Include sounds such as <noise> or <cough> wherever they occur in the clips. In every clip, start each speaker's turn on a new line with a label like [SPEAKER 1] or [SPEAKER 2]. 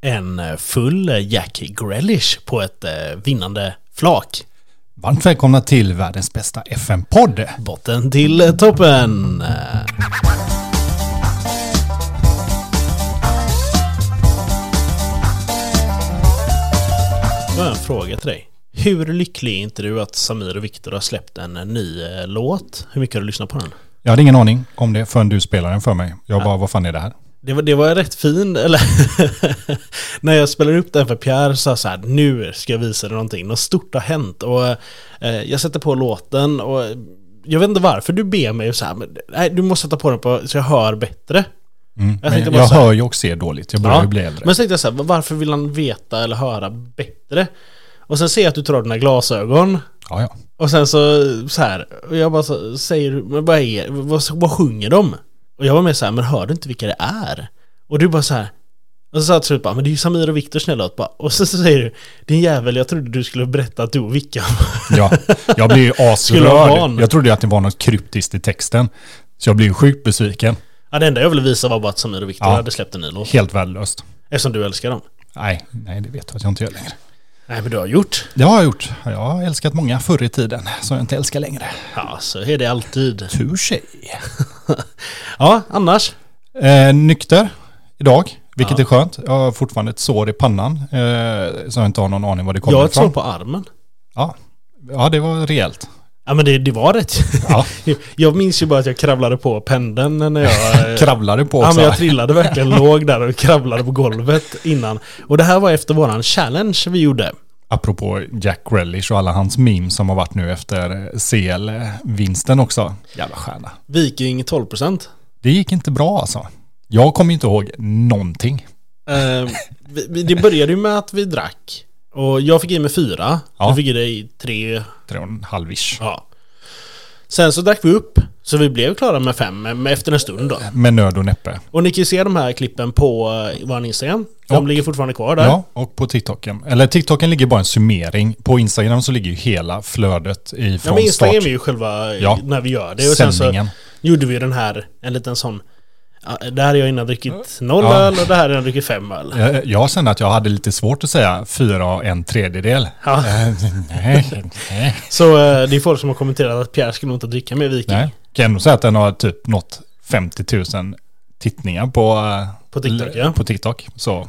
[SPEAKER 1] en eh, full Jack Grealish på ett eh, vinnande flak.
[SPEAKER 2] Varmt välkomna till världens bästa FN-podd.
[SPEAKER 1] Botten till eh, toppen! Jag har en fråga till dig. Hur lycklig är inte du att Samir och Viktor har släppt en eh, ny eh, låt? Hur mycket har du lyssnat på den?
[SPEAKER 2] Jag hade ingen aning om det förrän du spelade den för mig. Jag bara, vad fan är det här?
[SPEAKER 1] Det var, det var rätt fin, eller <laughs> när jag spelade upp den för Pierre sa jag så här, nu ska jag visa dig någonting, något stort har hänt och eh, jag sätter på låten och jag vet inte varför du ber mig så här, men, nej du måste sätta på den på, så jag hör bättre.
[SPEAKER 2] Mm.
[SPEAKER 1] Jag
[SPEAKER 2] Jag,
[SPEAKER 1] tänkte
[SPEAKER 2] men
[SPEAKER 1] bara
[SPEAKER 2] jag
[SPEAKER 1] så här-
[SPEAKER 2] hör ju och ser dåligt. Jag börjar ju bli äldre.
[SPEAKER 1] Men så tänkte jag så här, varför vill han veta eller höra bättre? Och sen ser jag att du tar dina glasögon
[SPEAKER 2] Ja, ja.
[SPEAKER 1] och sen så, så här, och jag bara så, säger du, men vad är, vad, vad sjunger de? Och jag var med så här, men hör du inte vilka det är? Och du bara så här, och så sa jag till slut bara, men det är ju Samir och Viktors nya låt bara. Och så, så säger du, din jävel, jag trodde du skulle berätta att du och Vickan
[SPEAKER 2] ja. Jag blir
[SPEAKER 1] <laughs>
[SPEAKER 2] ju
[SPEAKER 1] Skulle vara van.
[SPEAKER 2] asrörd. Jag trodde ju att det var något kryptiskt i texten. Så jag blir ju sjukt besviken.
[SPEAKER 1] Ja det enda jag ville visa var bara att Samir och Viktor
[SPEAKER 2] Ja.
[SPEAKER 1] hade släppt en ny låt.
[SPEAKER 2] Helt värdelöst.
[SPEAKER 1] Eftersom du älskar dem.
[SPEAKER 2] Nej, nej, det vet jag att jag inte gör längre.
[SPEAKER 1] Nej men du har gjort.
[SPEAKER 2] Det har jag gjort. Jag har älskat många förr i tiden som jag inte älskar längre.
[SPEAKER 1] Ja så är det alltid.
[SPEAKER 2] Tur sig.
[SPEAKER 1] Ja annars.
[SPEAKER 2] Eh, nykter idag, vilket är skönt. Jag har fortfarande ett sår i pannan eh, så jag inte har någon aning var det
[SPEAKER 1] Jag
[SPEAKER 2] kommer
[SPEAKER 1] har ett sår
[SPEAKER 2] ifrån.
[SPEAKER 1] på armen.
[SPEAKER 2] Ja. ja, det var rejält.
[SPEAKER 1] Ja men det, det var rätt. <laughs>
[SPEAKER 2] Ja.
[SPEAKER 1] Jag minns ju bara att jag kravlade på pendeln när jag... eh,
[SPEAKER 2] Kravlade på
[SPEAKER 1] Ja,
[SPEAKER 2] också.
[SPEAKER 1] men jag trillade
[SPEAKER 2] <laughs>
[SPEAKER 1] verkligen, låg där och kravlade på golvet innan. Och det här var efter våran challenge vi gjorde.
[SPEAKER 2] Apropå Jack Relish och alla hans memes som har varit nu efter CL-vinsten också. Jävla stjärna.
[SPEAKER 1] Viking 12%.
[SPEAKER 2] Det gick inte bra alltså. Jag kommer inte ihåg någonting.
[SPEAKER 1] Eh, vi- vi- det började ju med att vi drack. Och jag fick i mig fyra.
[SPEAKER 2] Ja.
[SPEAKER 1] Du fick i dig tre.
[SPEAKER 2] Tre och en halv ish.
[SPEAKER 1] Ja. Sen så drack vi upp. Så vi blev klara med fem men efter en stund då.
[SPEAKER 2] Med nöd och näppe.
[SPEAKER 1] Och ni kan ju se de här klippen på eh, vår Instagram. De
[SPEAKER 2] Och-
[SPEAKER 1] ligger fortfarande kvar där.
[SPEAKER 2] Ja, och på TikToken. Eller TikToken ligger bara en summering. På Instagram så ligger ju hela flödet ifrån
[SPEAKER 1] Ja men Instagram
[SPEAKER 2] start.
[SPEAKER 1] är ju själva
[SPEAKER 2] Ja.
[SPEAKER 1] när vi gör det. Och sen
[SPEAKER 2] Sändningen.
[SPEAKER 1] så gjorde vi den här, en liten sån ja, det här är jag innan druckit noll
[SPEAKER 2] Ja.
[SPEAKER 1] öl och det här är jag druckit fem öl.
[SPEAKER 2] Jag, jag kände att jag hade lite svårt att säga fyra och
[SPEAKER 1] <laughs>
[SPEAKER 2] en tredjedel.
[SPEAKER 1] Ja.
[SPEAKER 2] Eh, nej, nej.
[SPEAKER 1] Så eh, det är folk som har kommenterat att Pierre skulle nog inte dricka mer viking
[SPEAKER 2] nej. Kan jag ändå säga att den har typ nått 50 000 tittningar på, eh,
[SPEAKER 1] på TikTok.
[SPEAKER 2] l-
[SPEAKER 1] Ja.
[SPEAKER 2] på TikTok. Så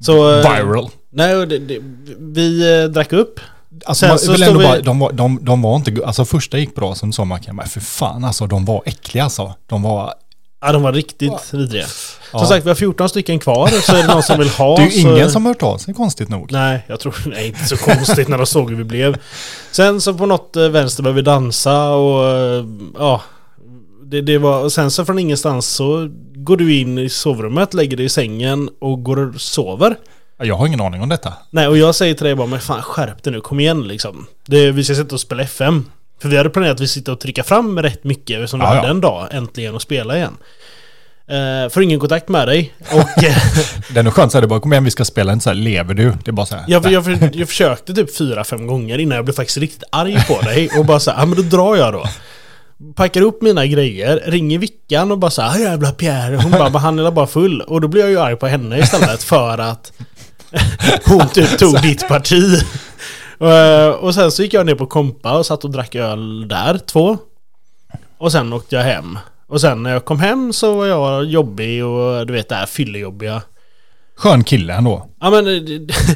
[SPEAKER 1] Så, eh,
[SPEAKER 2] viral.
[SPEAKER 1] Nej, och det, det, vi eh, drack upp.
[SPEAKER 2] Alltså
[SPEAKER 1] sen
[SPEAKER 2] man
[SPEAKER 1] så
[SPEAKER 2] vill
[SPEAKER 1] står
[SPEAKER 2] ändå
[SPEAKER 1] vi-
[SPEAKER 2] bara, de, var, de, de var inte, go- alltså första gick bra, sen sa man kan bara, för fan alltså, de var äckliga alltså. De var,
[SPEAKER 1] Ja, de var riktigt vidriga. Som
[SPEAKER 2] Ja.
[SPEAKER 1] sagt, vi har 14 stycken kvar så är det någon som vill ha.
[SPEAKER 2] det är ju
[SPEAKER 1] så...
[SPEAKER 2] ingen som har hört av sig konstigt nog.
[SPEAKER 1] Nej, jag tror <laughs> nej, inte så konstigt när de såg hur vi blev. Sen så på något eh, vänster började vi dansa och eh, ja, det, det var, och sen så från ingenstans så går du in i sovrummet, lägger dig i sängen och går och sover.
[SPEAKER 2] Jag har ingen aning om detta.
[SPEAKER 1] Nej, och jag säger till dig bara, men fan skärp dig nu, kom igen liksom. Det, vi ska sitta och spela FM. För vi hade planerat att vi sitter och trycka fram rätt mycket som du
[SPEAKER 2] Ja,
[SPEAKER 1] hade
[SPEAKER 2] ja.
[SPEAKER 1] en dag äntligen och spela igen. Eh, får ingen kontakt med dig och eh,
[SPEAKER 2] Den är skön, så här, det är bara kom igen vi ska spela, inte så här lever du. Det är bara så här,
[SPEAKER 1] jag, jag, för- jag försökte typ fyra, fem gånger innan jag blev faktiskt riktigt arg på dig och bara så här, ja men då drar jag då. Packar upp mina grejer, ringer Vickan och bara så här, "Ah, jävla Pierre. Hon bara, "Men han är bara full. Och då blir jag ju arg på henne istället för att <laughs> hon typ tog ditt parti. Eh, Och sen så gick jag ner på kompa och satt och drack öl där, två. Och sen åkte jag hem. Och sen när jag kom hem så var jag jobbig och du vet det här fyllejobbiga.
[SPEAKER 2] skön kille ändå.
[SPEAKER 1] Ja men eh,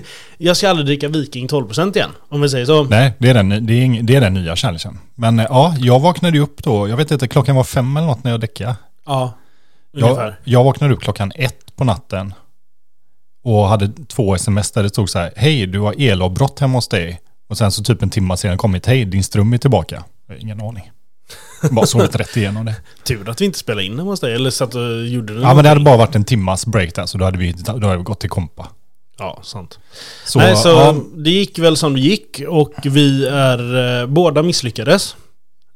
[SPEAKER 1] <laughs> jag ska aldrig dricka Viking 12% igen. Om vi säger så.
[SPEAKER 2] Nej, det är den, det är, ing- det är den nya challengen. Men eh, ja, jag vaknade ju upp då, jag vet inte, klockan var fem eller något när jag däckade.
[SPEAKER 1] Ja.
[SPEAKER 2] Jag,
[SPEAKER 1] Ungefär.
[SPEAKER 2] jag vaknade upp klockan ett på natten och hade två sms där det stod så här, hej du har elavbrott hemma hos dig. Och sen så typ en timma senare kommit, hej din ström är tillbaka. Jag har ingen aning. Bara sovit rätt igenom det.
[SPEAKER 1] Tur att vi inte spelade in den hos dig. Eller satt och gjorde den.
[SPEAKER 2] Ja men det hade bara varit en timmas break där så då hade vi, då hade vi gått till kompa.
[SPEAKER 1] Ja, sant.
[SPEAKER 2] Så,
[SPEAKER 1] Nej, så
[SPEAKER 2] ja,
[SPEAKER 1] det gick väl som det gick och vi är... Eh, båda misslyckades.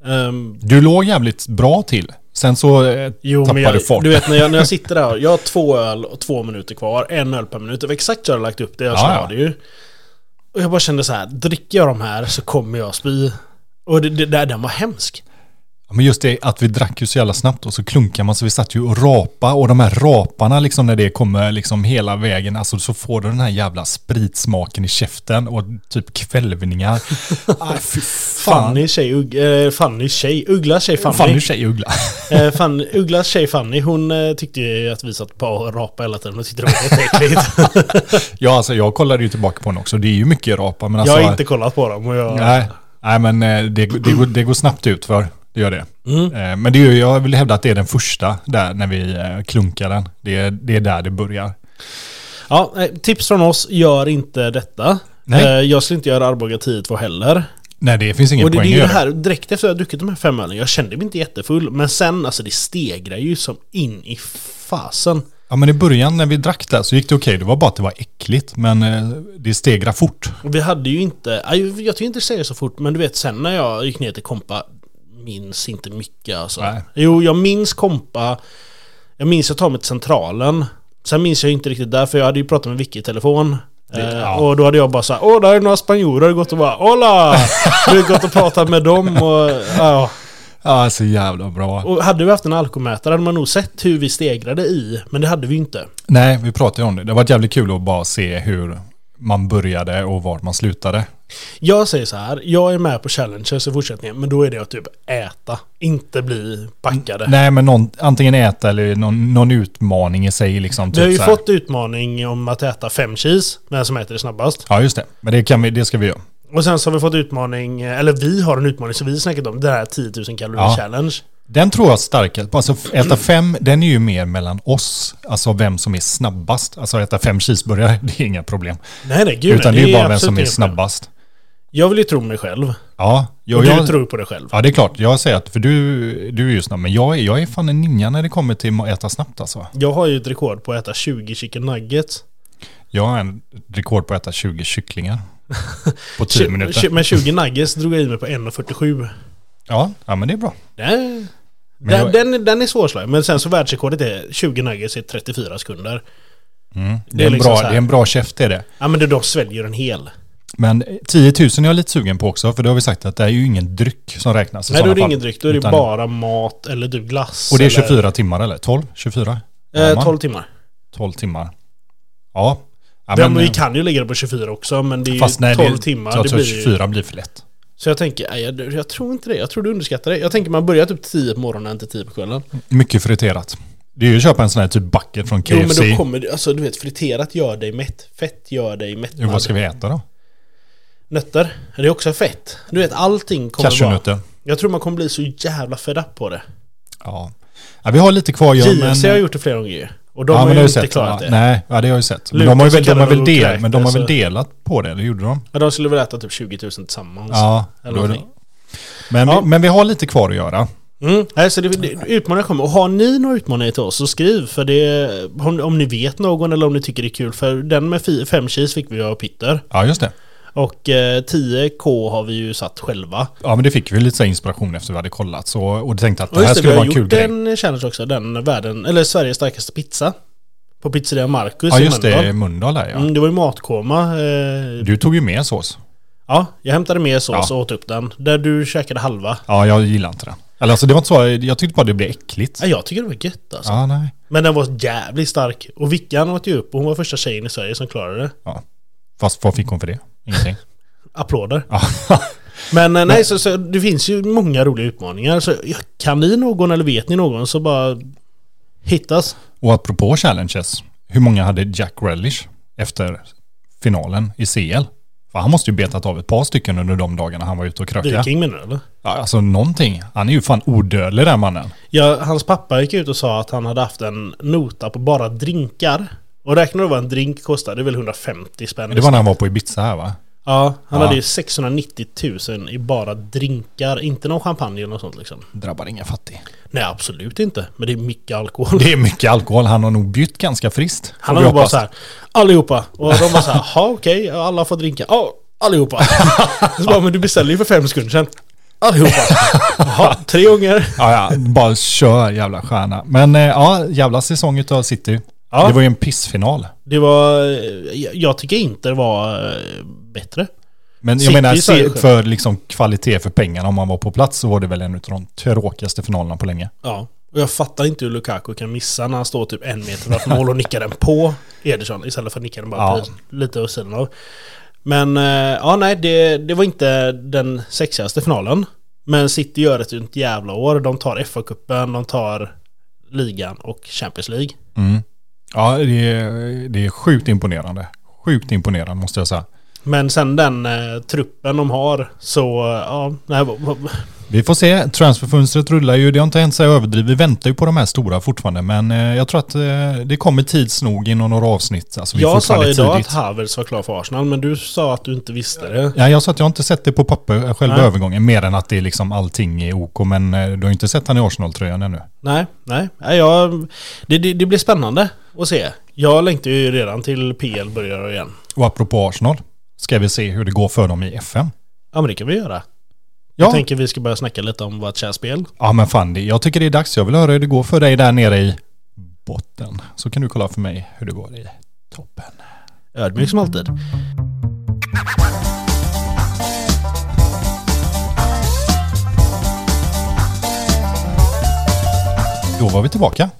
[SPEAKER 1] Ehm,
[SPEAKER 2] du låg jävligt bra till. Sen så eh,
[SPEAKER 1] jo, men
[SPEAKER 2] tappade
[SPEAKER 1] jag,
[SPEAKER 2] du fart.
[SPEAKER 1] du vet när jag, när jag sitter där. Jag har två öl och två minuter kvar. En öl per minut. Det var exakt så jag hade lagt upp det. Jag
[SPEAKER 2] Ja,
[SPEAKER 1] sa
[SPEAKER 2] ja.
[SPEAKER 1] det ju. Och jag bara kände så här. Dricker jag de här så kommer jag spy. Och det, det där, den var hemsk.
[SPEAKER 2] Ja, Men just det att vi drack ju så jävla snabbt och så klunkar man så vi satt ju och rapa och de här raparna liksom när det kommer liksom hela vägen, alltså så får du den här jävla spritsmaken i käften och
[SPEAKER 1] <laughs>
[SPEAKER 2] typ kvälvningar. Aj, fy fan.
[SPEAKER 1] Fanny tjej, Ugg, eh, Fanny tjej, Ugglas tjej Fanny.
[SPEAKER 2] Fan, nu tjej Uggla.
[SPEAKER 1] Eh, fan, Ugglas tjej Fanny, hon eh, tyckte ju att vi satt på och rapa hela tiden och tyckte det var
[SPEAKER 2] <laughs>
[SPEAKER 1] jätteäckligt.
[SPEAKER 2] <laughs> Ja, alltså jag kollade ju tillbaka på den också. Det är ju mycket rapa, men alltså...
[SPEAKER 1] Jag har inte kollat på dem och jag...
[SPEAKER 2] Nej, nej men eh, det, det, går, det går snabbt ut för det gör det.
[SPEAKER 1] Mm.
[SPEAKER 2] Eh, Men det är, ju- jag vill hävda att det är den första där när vi eh, klunkar den. Det är, det är där det börjar.
[SPEAKER 1] Ja, eh, tips från oss, gör inte detta.
[SPEAKER 2] Nej.
[SPEAKER 1] Eh, Jag skulle inte göra Arboga 10 heller.
[SPEAKER 2] Nej, det finns ingen
[SPEAKER 1] och det, det
[SPEAKER 2] poäng
[SPEAKER 1] är
[SPEAKER 2] i
[SPEAKER 1] ju det här, direkt efter jag har druckit de här fem ölen, jag kände mig inte jättefull, men sen alltså det stegrar ju som in i fasen.
[SPEAKER 2] Ja, men i början när vi drack där så gick det okej. Det var bara att det var äckligt, men eh, det stegrar fort.
[SPEAKER 1] Och vi hade ju inte, aj, jag tycker inte det säger så fort, men du vet sen när jag gick ner till kompa, minns inte mycket alltså.
[SPEAKER 2] Nej.
[SPEAKER 1] Jo, jag minns kompa, jag minns jag tar mig till centralen, sen minns jag inte riktigt där, för jag hade ju pratat med Vicky i telefon. Eh,
[SPEAKER 2] ja.
[SPEAKER 1] Och då hade jag bara såhär, åh där är några spanjorer, gått och bara hola! Du har gått och pratat med dem och ja.
[SPEAKER 2] Ja, så jävla bra.
[SPEAKER 1] Och hade vi haft en alkomätare hade man nog sett hur vi stegrade i, men det hade vi ju inte.
[SPEAKER 2] Nej, vi pratade ju om det. Det var varit jävligt kul att bara se hur man började och vart man slutade.
[SPEAKER 1] Jag säger så här, jag är med på challenges i fortsättningen, men då är det att typ äta, inte bli packade.
[SPEAKER 2] Nej, men någon, antingen äta eller någon, någon utmaning i sig. Liksom,
[SPEAKER 1] vi har ju
[SPEAKER 2] så här.
[SPEAKER 1] fått utmaning om att äta fem cheese, den som äter det snabbast.
[SPEAKER 2] Ja, just det. Men det, kan vi, det ska vi göra.
[SPEAKER 1] Och sen så har vi fått utmaning, eller vi har en utmaning som vi har snackat om, den här 10 000 kalorier
[SPEAKER 2] Ja.
[SPEAKER 1] challenge.
[SPEAKER 2] Den tror jag är starkast. Alltså f- äta fem, den är ju mer mellan oss. Alltså vem som är snabbast. Alltså äta fem cheeseburgare, <laughs> det är inga problem.
[SPEAKER 1] Nej nej, gud
[SPEAKER 2] Utan det är ju bara vem
[SPEAKER 1] absolut
[SPEAKER 2] som är
[SPEAKER 1] inget problem.
[SPEAKER 2] snabbast.
[SPEAKER 1] Jag vill ju tro mig själv.
[SPEAKER 2] Ja, jag,
[SPEAKER 1] Och du
[SPEAKER 2] jag,
[SPEAKER 1] tror på dig själv.
[SPEAKER 2] ja, det är klart. Jag säger att, för du, du är ju snabb. Men jag, är- jag är fan en ninja när det kommer till att äta snabbt alltså.
[SPEAKER 1] Jag har ju ett rekord på att äta 20 chicken nuggets.
[SPEAKER 2] Jag har en rekord på att äta
[SPEAKER 1] <laughs>
[SPEAKER 2] 20 kycklingar. På 10 minuter.
[SPEAKER 1] Men 20 nuggets drog jag i mig på 1.47.
[SPEAKER 2] Ja, ja, men det är bra.
[SPEAKER 1] Den,
[SPEAKER 2] Men
[SPEAKER 1] den,
[SPEAKER 2] jag-
[SPEAKER 1] den, är- den är svårslagen. Men sen så världsrekordet är 20 nuggets i 34 sekunder.
[SPEAKER 2] Mm. Det är en
[SPEAKER 1] liksom
[SPEAKER 2] bra,
[SPEAKER 1] så här.
[SPEAKER 2] det är en bra käft är det.
[SPEAKER 1] Ja men du, de sväljer en hel.
[SPEAKER 2] Men 10 000 är jag lite sugen på också, för då har vi sagt att det är ju ingen dryck som räknas i
[SPEAKER 1] Nej då
[SPEAKER 2] sådana
[SPEAKER 1] är det
[SPEAKER 2] fall.
[SPEAKER 1] ingen dryck, då är det
[SPEAKER 2] Utan-
[SPEAKER 1] bara mat eller du glass.
[SPEAKER 2] Och det är
[SPEAKER 1] eller-
[SPEAKER 2] 24 timmar eller? 12? 24? Ja,
[SPEAKER 1] Eh,
[SPEAKER 2] man.
[SPEAKER 1] 12 timmar.
[SPEAKER 2] 12 timmar. Ja. ja
[SPEAKER 1] Ja, men
[SPEAKER 2] eh,
[SPEAKER 1] vi kan ju lägga det på 24 också, men det är ju
[SPEAKER 2] fast nej,
[SPEAKER 1] 12
[SPEAKER 2] det,
[SPEAKER 1] timmar.
[SPEAKER 2] Jag
[SPEAKER 1] det
[SPEAKER 2] tror
[SPEAKER 1] blir ju-
[SPEAKER 2] 24 blir för lätt.
[SPEAKER 1] Så jag tänker, nej, jag, jag tror inte det. Jag tror du underskattar det. Jag tänker man börjar typ 10 på morgonen till 10 på kvällen.
[SPEAKER 2] Mycket friterat. Det är ju att köpa en sån här typ bucket från KFC.
[SPEAKER 1] Jo men då kommer det, alltså du vet friterat gör dig mätt. Fett gör dig mätt.
[SPEAKER 2] Jo, vad ska vi äta då?
[SPEAKER 1] Nötter, det är också fett. Du vet allting kommer vara...
[SPEAKER 2] Cashewnötter.
[SPEAKER 1] Jag tror man kommer bli så jävla fed up på det.
[SPEAKER 2] Ja. ja. Vi har lite kvar att göra, men... eh,
[SPEAKER 1] JFC har gjort det flera gånger ju. Och de
[SPEAKER 2] ja,
[SPEAKER 1] har
[SPEAKER 2] men
[SPEAKER 1] ju
[SPEAKER 2] har
[SPEAKER 1] inte
[SPEAKER 2] ju sett,
[SPEAKER 1] klarat
[SPEAKER 2] ja,
[SPEAKER 1] det.
[SPEAKER 2] Nej, ja, det har jag ju sett. Men
[SPEAKER 1] Lukas
[SPEAKER 2] de har, ju väl, de,
[SPEAKER 1] kallar
[SPEAKER 2] har
[SPEAKER 1] det
[SPEAKER 2] väl del,
[SPEAKER 1] okräkt,
[SPEAKER 2] men de har väl
[SPEAKER 1] alltså.
[SPEAKER 2] delat på det, eller gjorde de?
[SPEAKER 1] Ja, de skulle väl äta typ 20 000 tillsammans.
[SPEAKER 2] Ja,
[SPEAKER 1] eller
[SPEAKER 2] då är det.
[SPEAKER 1] någonting.
[SPEAKER 2] Men,
[SPEAKER 1] Ja.
[SPEAKER 2] vi, men vi har lite kvar att göra.
[SPEAKER 1] Mm. Nej, så det, det, utmaningar kommer. Och har ni några utmaningar till oss så skriv. För det, om, om ni vet någon eller om ni tycker det är kul. För den med fi, fem cheese fick vi av Peter.
[SPEAKER 2] Ja, just det.
[SPEAKER 1] Och eh, 10K har vi ju satt själva.
[SPEAKER 2] Ja, men det fick vi lite så här inspiration efter vi hade kollat. Så, och tänkte att
[SPEAKER 1] Och
[SPEAKER 2] det här
[SPEAKER 1] just det, vi
[SPEAKER 2] skulle vara
[SPEAKER 1] har
[SPEAKER 2] en kul
[SPEAKER 1] gjort
[SPEAKER 2] grej.
[SPEAKER 1] en challenge också. Den världen, eller Sveriges starkaste pizza. På pizzeria Marcus
[SPEAKER 2] Ja
[SPEAKER 1] i
[SPEAKER 2] just det,
[SPEAKER 1] Mölndal.
[SPEAKER 2] Mölndal där ja.
[SPEAKER 1] Mm, det var ju matkoma. Eh,
[SPEAKER 2] Du tog ju med sås.
[SPEAKER 1] ja, jag hämtade med sås
[SPEAKER 2] Ja.
[SPEAKER 1] och åt upp den. Där du käkade halva.
[SPEAKER 2] Ja, jag gillar inte den. Eller alltså det var inte så, jag tyckte bara det blev äckligt.
[SPEAKER 1] Ja, jag tycker det var gött alltså.
[SPEAKER 2] Ja, nej.
[SPEAKER 1] Men den var jävligt stark. Och Vickan åt ju upp och hon var första tjejen i Sverige som klarade det.
[SPEAKER 2] Ja. Fast vad fick hon för det? Ingenting.
[SPEAKER 1] Applåder.
[SPEAKER 2] <laughs> Ja.
[SPEAKER 1] Men eh, nej, så, så det finns ju många roliga utmaningar. Så ja, kan ni någon eller vet ni någon så bara hittas.
[SPEAKER 2] Och apropå challenges, hur många hade Jack Relish efter finalen i CL? För han måste ju betat av ett par stycken under de dagarna han var ute och krökade.
[SPEAKER 1] Viking menar du eller?
[SPEAKER 2] Ja, alltså någonting. Han är ju fan odödlig den mannen.
[SPEAKER 1] Ja, hans pappa gick ut och sa att han hade haft en nota på bara drinkar. Och räknar du vad en drink kostade, det är väl 150 spänn.
[SPEAKER 2] Det var när han var på Ibiza här va?
[SPEAKER 1] Ja, han
[SPEAKER 2] Ja.
[SPEAKER 1] hade ju 690 000 i bara drinkar. Inte någon champagne eller något sånt liksom.
[SPEAKER 2] Drabbar ingen fattig.
[SPEAKER 1] Nej, absolut inte. Men det är mycket alkohol.
[SPEAKER 2] Det är mycket alkohol. Han har nog bytt ganska friskt.
[SPEAKER 1] Han
[SPEAKER 2] Och vi
[SPEAKER 1] var bara
[SPEAKER 2] hoppas-
[SPEAKER 1] så här, allihopa. Och de var så här, ja okej, ja, alla får drinka. Ja,
[SPEAKER 2] <laughs>
[SPEAKER 1] allihopa. Så bara, men du beställde ju för fem sekunder sedan. Allihopa. Jaha, tre gånger.
[SPEAKER 2] Ja, ja, bara kör jävla stjärna. Men eh, ja, jävla säsong utav City.
[SPEAKER 1] Ja.
[SPEAKER 2] Det var ju en pissfinal.
[SPEAKER 1] Det var, eh, jag- jag tycker inte det var eh, bättre.
[SPEAKER 2] Men jag
[SPEAKER 1] City
[SPEAKER 2] menar,
[SPEAKER 1] i Sverige
[SPEAKER 2] se-
[SPEAKER 1] själv.
[SPEAKER 2] för liksom kvalitet för pengarna, om man var på plats så var det väl en av de tråkigaste finalerna på länge.
[SPEAKER 1] Ja, och jag fattar inte hur Lukaku kan missa när han står typ en meter framför mål och nickar den på Ederson istället för att nicka den bara
[SPEAKER 2] Ja.
[SPEAKER 1] precis lite åt sidan av. Men eh, ja, nej, det, det var inte den sexigaste finalen. Men City gör ett inte jävla år. De tar FA-cupen, de tar ligan och Champions League.
[SPEAKER 2] Ja, det är, det är sjukt imponerande. Sjukt imponerande måste jag säga.
[SPEAKER 1] Men sen den eh, truppen de har så, eh, ja, nej, v- v-
[SPEAKER 2] Vi får se. Transferfönstret rullar ju. Det har inte hänt sig överdrivet. Vi väntar ju på de här stora fortfarande. Men eh, jag tror att eh, det kommer tids nog inom några avsnitt. Alltså, vi är
[SPEAKER 1] jag sa
[SPEAKER 2] fortfarande
[SPEAKER 1] idag
[SPEAKER 2] tidigt.
[SPEAKER 1] att Havertz var klar för Arsenal, men du sa att du inte visste det.
[SPEAKER 2] Ja, jag sa att jag har inte sett det på papper, eh, själva
[SPEAKER 1] Nej.
[SPEAKER 2] övergången, mer än att det är liksom allting är OK. Men eh, du har inte sett han i Arsenal-tröjan ännu.
[SPEAKER 1] Nej, nej. nej jag, det, det, det blir spännande att se. Jag längtar ju redan till PL börjar igen.
[SPEAKER 2] Och apropå Arsenal, ska vi se hur det går för dem i FM?
[SPEAKER 1] Ja, men det kan vi göra. Jag
[SPEAKER 2] Ja,
[SPEAKER 1] tänker vi ska börja snacka lite om vårt kära spel.
[SPEAKER 2] ja men fan, det- jag tycker det är dags. Jag vill höra hur det går för dig där nere i botten. Så kan du kolla för mig hur det går i toppen.
[SPEAKER 1] Ödmjuk som alltid.
[SPEAKER 2] Mm. Då var vi tillbaka.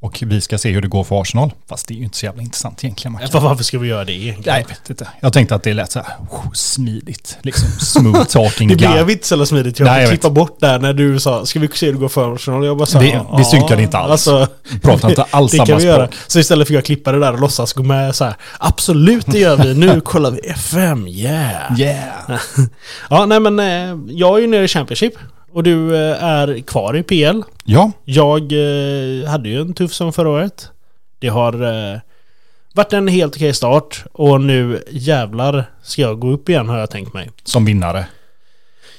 [SPEAKER 2] Och vi ska se hur det går för Arsenal. Fast det är ju inte så jävla intressant egentligen. Man kan...
[SPEAKER 1] För varför ska vi göra det egentligen?
[SPEAKER 2] Nej, jag vet inte. Jag tänkte att det lät så här oh, smidigt. Liksom
[SPEAKER 1] <laughs>
[SPEAKER 2] smooth talking.
[SPEAKER 1] Det
[SPEAKER 2] guy.
[SPEAKER 1] blev inte så jävla smidigt. Jag
[SPEAKER 2] Nej, jag
[SPEAKER 1] fick klippa bort där när du sa ska vi se hur det går för Arsenal? Jag bara sa, alltså,
[SPEAKER 2] Det- vi synkade inte alls.
[SPEAKER 1] <laughs>
[SPEAKER 2] Pratar inte alls
[SPEAKER 1] det
[SPEAKER 2] samma
[SPEAKER 1] kan vi
[SPEAKER 2] språk.
[SPEAKER 1] göra. Så istället fick jag klippa det där och låtsas gå med så här. Absolut det gör vi.
[SPEAKER 2] <laughs>
[SPEAKER 1] Nu kollar vi FM. Yeah.
[SPEAKER 2] Yeah.
[SPEAKER 1] Ja, nej men eh, jag är ju nere i Championship och du eh, är kvar i PL.
[SPEAKER 2] Ja,
[SPEAKER 1] Jag eh, hade ju en tuff som förra året. Det har eh, varit en helt okej start och nu jävlar ska jag gå upp igen har jag tänkt mig.
[SPEAKER 2] som vinnare.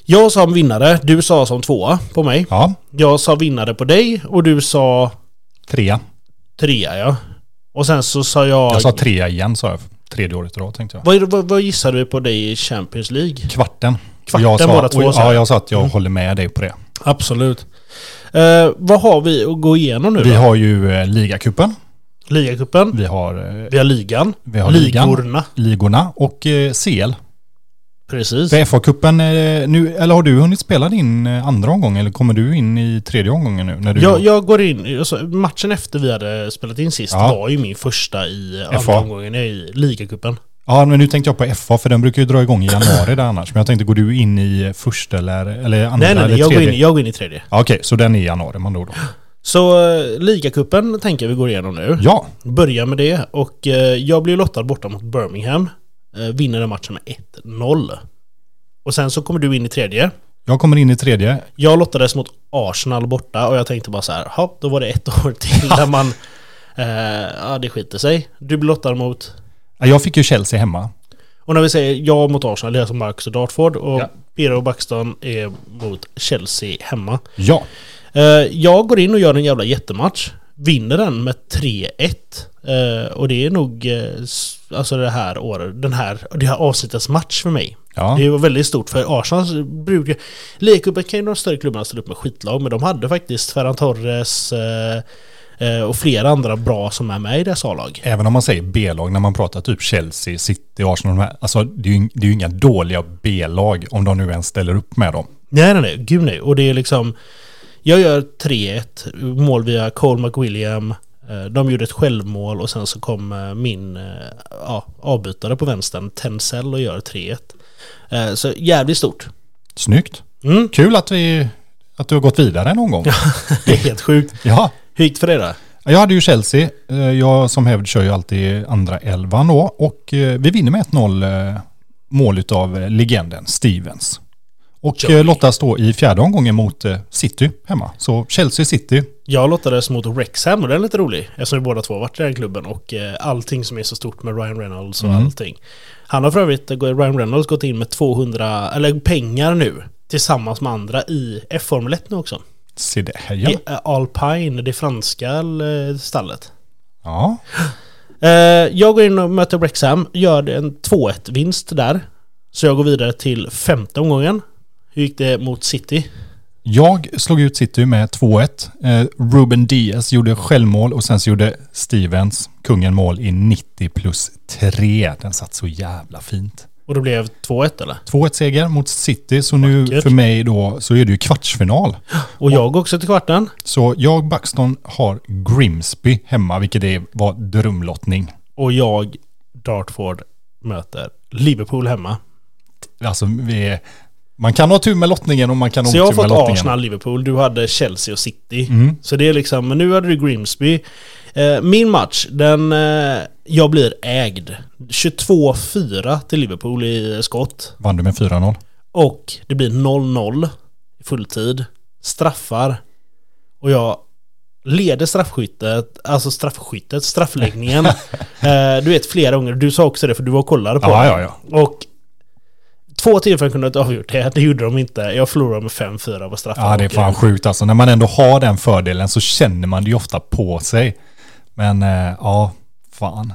[SPEAKER 1] Jag sa vinnare, du sa som tvåa på mig.
[SPEAKER 2] Ja,
[SPEAKER 1] Jag sa vinnare på dig och du sa
[SPEAKER 2] trea.
[SPEAKER 1] trea ja. Och sen så sa jag...
[SPEAKER 2] Jag sa trea igen sa jag. Tredje året i rad tänkte jag.
[SPEAKER 1] vad, vad, vad gissade du på dig i Champions League?
[SPEAKER 2] Kvarten.
[SPEAKER 1] Kvarten
[SPEAKER 2] jag sa,
[SPEAKER 1] båda två,
[SPEAKER 2] och-
[SPEAKER 1] sa jag. Mm.
[SPEAKER 2] Ja, jag sa att jag håller med dig på det.
[SPEAKER 1] Absolut. Eh, vad har vi att gå igenom nu
[SPEAKER 2] Vi
[SPEAKER 1] då?
[SPEAKER 2] har ju eh, ligacupen.
[SPEAKER 1] Ligacupen.
[SPEAKER 2] Vi har eh,
[SPEAKER 1] Vi har ligan.
[SPEAKER 2] Vi har ligan.
[SPEAKER 1] Ligorna.
[SPEAKER 2] ligorna och eh, CL.
[SPEAKER 1] Precis.
[SPEAKER 2] För FA-cupen, eh, nu, eller har du hunnit spela din eh, andra omgång eller kommer du in i tredje omgången nu? När du,
[SPEAKER 1] Jag, jag går in, alltså, matchen efter vi hade spelat in sist
[SPEAKER 2] Ja.
[SPEAKER 1] var ju min första i
[SPEAKER 2] FA.
[SPEAKER 1] andra omgången i ligacupen.
[SPEAKER 2] Ja, men nu tänkte jag på FA för den brukar ju dra igång i januari där annars. Men jag tänkte, går du in i eh, första eller, eller andra
[SPEAKER 1] Nej, nej,
[SPEAKER 2] eller
[SPEAKER 1] nej jag, går
[SPEAKER 2] tredje?
[SPEAKER 1] in, jag går in i tredje.
[SPEAKER 2] Ja, Okej, så den är i januari man då. då.
[SPEAKER 1] Så eh, ligacupen tänker jag vi går igenom nu.
[SPEAKER 2] Ja,
[SPEAKER 1] Börja med det och eh, jag blir lottad borta mot Birmingham. Eh, vinner den matchen med 1-0. Och sen så kommer du in i tredje.
[SPEAKER 2] jag kommer in i tredje.
[SPEAKER 1] Jag lottades mot Arsenal borta och jag tänkte bara så här, "Ja, då var det ett år
[SPEAKER 2] <laughs>
[SPEAKER 1] till där man... Eh, ja, det skiter sig. Du blir lottad mot
[SPEAKER 2] Ja, Jag fick ju Chelsea hemma.
[SPEAKER 1] Och när vi säger ja mot Arsenal, det är alltså Marcus och Dartford och
[SPEAKER 2] Ja.
[SPEAKER 1] Pira och Backstone är mot Chelsea hemma.
[SPEAKER 2] Ja,
[SPEAKER 1] Eh, jag går in och gör en jävla jättematch. Vinner den med 3-1. Eh, och det är nog eh, s- alltså det här året, den här, det här avsnittets match för mig.
[SPEAKER 2] ja.
[SPEAKER 1] Det var väldigt stort för Arsenal brukar... Ligacupen kan ju de större klubbarna ställa upp med skitlag, men de hade faktiskt Ferran Torres eh, eh, och flera andra bra som är med i deras A-lag.
[SPEAKER 2] Även om man säger B-lag när man pratar typ Chelsea, City, Arsenal, de här, alltså det är, ju, det är ju inga dåliga B-lag om de nu ens ställer upp med dem.
[SPEAKER 1] Nej, nej, nej. Gud nej. Och det är liksom... Jag gör 3-1, mål via Cole McWilliam. Eh, De gjorde ett självmål och sen så kom eh, min eh, ja, avbytare på vänstern, Tencel, och gör 3-1. Eh, Så jävligt stort. <laughs>
[SPEAKER 2] Snyggt.
[SPEAKER 1] Mm.
[SPEAKER 2] Kul att, vi, att du har gått vidare någon gång.
[SPEAKER 1] Det är helt sjukt.
[SPEAKER 2] Ja.
[SPEAKER 1] Hur gick det för dig då?
[SPEAKER 2] Jag hade ju Chelsea. Eh, Jag som hävd kör ju alltid andra elvan då. Och eh, vi vinner med 1-0 eh, mål av legenden Stevens. Och
[SPEAKER 1] Joey.
[SPEAKER 2] eh, lottas då i fjärde omgången mot eh, City hemma. Så Chelsea City.
[SPEAKER 1] Jag lottades mot Wrexham och den är lite rolig eftersom vi båda två har varit i den klubben och eh, allting som är så stort med Ryan Reynolds och allting. Han har för övrigt, eh, Ryan Reynolds, gått in med 200, eller pengar nu tillsammans med andra i F-Formel 1 nu också.
[SPEAKER 2] Se det här
[SPEAKER 1] Det
[SPEAKER 2] ja.
[SPEAKER 1] är Alpine, det franska eh, stallet.
[SPEAKER 2] ja.
[SPEAKER 1] Eh, jag går in och möter Wrexham, gör en 2-1 vinst där. Så jag går vidare till femte omgången. Hur gick det mot City?
[SPEAKER 2] Jag slog ut City med 2-1. Eh, Ruben Diaz gjorde självmål och sen så gjorde Stevens, kungen, mål i 90 plus 3. Den satt så jävla fint.
[SPEAKER 1] Och det blev 2-1 eller?
[SPEAKER 2] 2-1 seger mot City, så nu
[SPEAKER 1] Vackert.
[SPEAKER 2] för mig då så är det ju kvartsfinal.
[SPEAKER 1] Och jag går också till kvarten.
[SPEAKER 2] Så jag, Buxton, har Grimsby hemma, vilket är, var drömlottning.
[SPEAKER 1] Och jag, Dartford, möter Liverpool hemma.
[SPEAKER 2] Alltså, vi är, man kan ha tur med lottningen och man kan ha
[SPEAKER 1] Så jag har
[SPEAKER 2] otur med
[SPEAKER 1] fått
[SPEAKER 2] lottningen.
[SPEAKER 1] Arsenal, Liverpool, du hade Chelsea och City.
[SPEAKER 2] Mm.
[SPEAKER 1] Så det är liksom, men nu hade du Grimsby. Eh, min match, den... Eh, jag blir ägd. 22-4 till Liverpool i skott.
[SPEAKER 2] Vann du med 4-0.
[SPEAKER 1] Och det blir 0-0 i fulltid. Straffar. Och jag leder straffskyttet, alltså straffskyttet,
[SPEAKER 2] <laughs>
[SPEAKER 1] straffläggningen. eh, du vet flera gånger, du sa också det för du var och kollade på
[SPEAKER 2] Ja,
[SPEAKER 1] det.
[SPEAKER 2] ja, ja.
[SPEAKER 1] Och två tillfällen kunde de inte avgjort det, det gjorde de inte. Jag förlorade med 5-4 på straffar.
[SPEAKER 2] Ja, det är
[SPEAKER 1] Och,
[SPEAKER 2] fan sjukt alltså. När man ändå har den fördelen så känner man det ju ofta på sig. Men eh, ja, fan.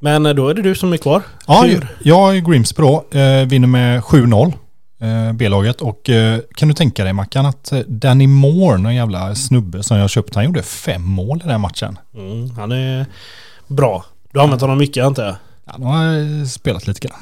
[SPEAKER 1] Men eh, då är det du som är kvar.
[SPEAKER 2] Ja,
[SPEAKER 1] Tur.
[SPEAKER 2] jag är Grimsby då. Eh, vinner med 7-0. Eh, B-laget. Och eh, kan du tänka dig Mackan att eh, Danny Moore, någon jävla snubbe som jag köpte, han gjorde fem mål i den här matchen.
[SPEAKER 1] Mm, han är bra. Du har använt honom mycket antar jag.
[SPEAKER 2] Han har eh, spelat lite grann.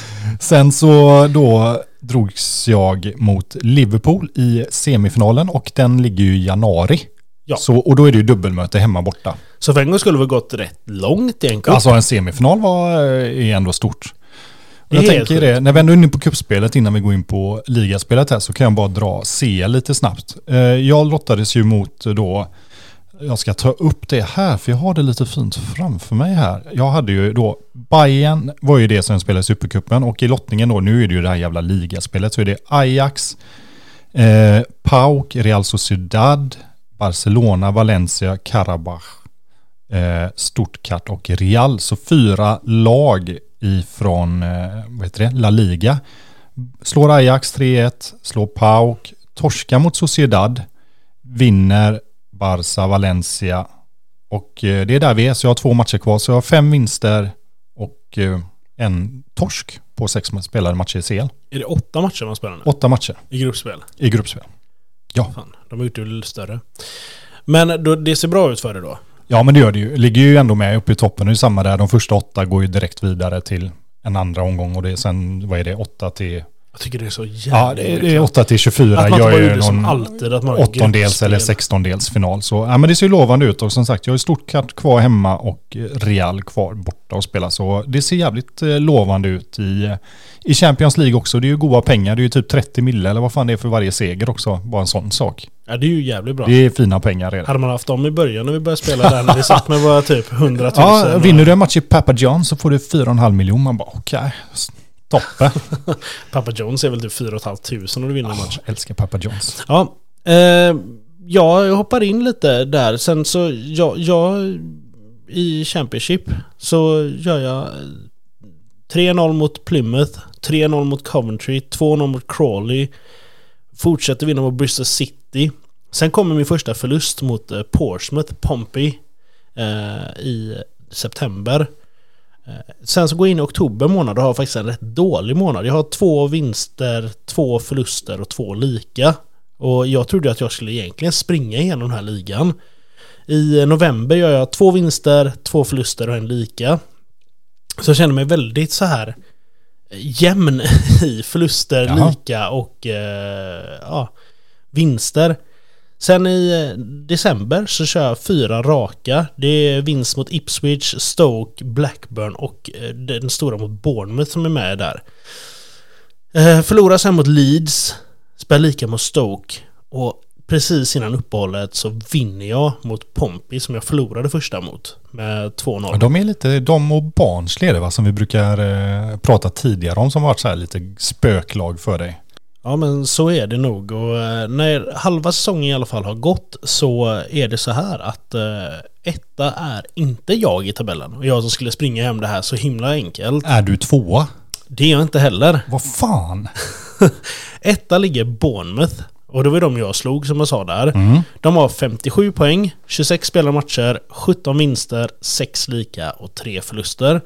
[SPEAKER 2] <laughs> Sen så då drogs jag mot Liverpool i semifinalen och den ligger ju i januari.
[SPEAKER 1] Ja.
[SPEAKER 2] Så, och då är det ju dubbelmöte hemma borta.
[SPEAKER 1] Så för en gång skulle vi gått rätt långt i en cup.
[SPEAKER 2] Alltså en semifinal var, eh, är ändå stort. Och
[SPEAKER 1] Det är
[SPEAKER 2] jag
[SPEAKER 1] helt
[SPEAKER 2] tänker det, när vi ändå är inne på kuppspelet innan vi går in på ligaspelet här så kan jag bara dra CL lite snabbt. Eh, Jag lottades ju mot eh, då, jag ska ta upp det här för jag har det lite fint framför mig här. Jag hade ju då, Bayern var ju det som spelade i Supercupen och i lottningen då, nu är det ju det här jävla ligaspelet, så är det Ajax, eh, PAOK, Real Sociedad, Barcelona, Valencia, Karabach eh, Stuttgart och Real. Så fyra lag ifrån eh, vad heter det? La Liga. Slår Ajax 3-1, slår PAOK, torskar mot Sociedad, vinner Barca, Valencia och eh, det är där vi är. Så jag har två matcher kvar. Så jag har fem vinster och eh, en torsk på sex spelade matcher i CL.
[SPEAKER 1] Är det åtta matcher man spelar nu?
[SPEAKER 2] Åtta matcher
[SPEAKER 1] I gruppspel?
[SPEAKER 2] i gruppspel.
[SPEAKER 1] Fan, de har gjort det lite större. Men då, det ser bra ut för dig då?
[SPEAKER 2] Ja men det gör det ju. Ligger ju ändå med uppe i toppen. Det är samma där. De första åtta går ju direkt vidare till en andra omgång och det är sen, vad är det, åtta till...
[SPEAKER 1] Jag tycker det är så jävla
[SPEAKER 2] Ja, det är åtta till 24.
[SPEAKER 1] Att man inte
[SPEAKER 2] gör
[SPEAKER 1] bara
[SPEAKER 2] ju
[SPEAKER 1] gjorde som
[SPEAKER 2] någon
[SPEAKER 1] alltid. Att man har
[SPEAKER 2] åttondels
[SPEAKER 1] gruppspel.
[SPEAKER 2] eller sextondelsfinal. Så ja, men det ser ju lovande ut och som sagt, jag har ju Stuttgart kvar hemma och Real kvar borta och spela. Så det ser jävligt eh, lovande ut i, eh, i Champions League också. Det är ju goda pengar. Det är ju typ 30 mille eller vad fan det är för varje seger också. Bara en sån sak.
[SPEAKER 1] Ja, det är ju jävligt bra.
[SPEAKER 2] Det är fina pengar redan.
[SPEAKER 1] Hade man haft dem i början när vi började spela där, när vi satt med våra typ 100 000.
[SPEAKER 2] Ja, vinner du en match i Papa John så får du 4,5 miljoner. Man bara okej, toppen.
[SPEAKER 1] Papa Jones är väl typ 4 500 om du vinner en match.
[SPEAKER 2] Jag älskar Papa Johns.
[SPEAKER 1] Ja, eh, ja, jag hoppar in lite där. Sen så, jag, jag i Championship så gör jag eh, 3-0 mot Plymouth, 3-0 mot Coventry, 2-0 mot Crawley. Fortsätter vinna mot Bristol City. Sen kommer min första förlust mot eh, Portsmouth, Pompey, eh, i september. Sen så går jag in i oktober månad och har faktiskt en rätt dålig månad. Jag har två vinster, två förluster och två lika. Och jag trodde att jag skulle egentligen springa igenom den här ligan. I november gör jag två vinster, två förluster och en lika. Så jag känner mig väldigt så här eh, jämn <laughs> i förluster,
[SPEAKER 2] Jaha.
[SPEAKER 1] lika och eh, ja, vinster. Sen i eh, december så kör jag fyra raka. Det är vinst mot Ipswich, Stoke, Blackburn och eh, den stora mot Bournemouth som är med där. Eh, Förlorar sen mot Leeds, spelar lika mot Stoke och precis innan uppehållet så vinner jag mot Pompey som jag förlorade första mot med 2-0.
[SPEAKER 2] Ja, De är lite, de och Barnsley är det va, som vi brukar eh, prata tidigare om som har varit så här lite spöklag för dig.
[SPEAKER 1] Ja men så är det nog och eh, när halva säsongen i alla fall har gått så är det så här att eh, etta är inte jag i tabellen och jag som skulle springa hem det här så himla enkelt.
[SPEAKER 2] Är du tvåa?
[SPEAKER 1] Det är jag inte heller.
[SPEAKER 2] Vad fan?
[SPEAKER 1] Etta ligger Bournemouth och det var ju de jag slog som jag sa där. De har 57 poäng, 26 spelade matcher, 17 vinster, 6 lika och 3 förluster.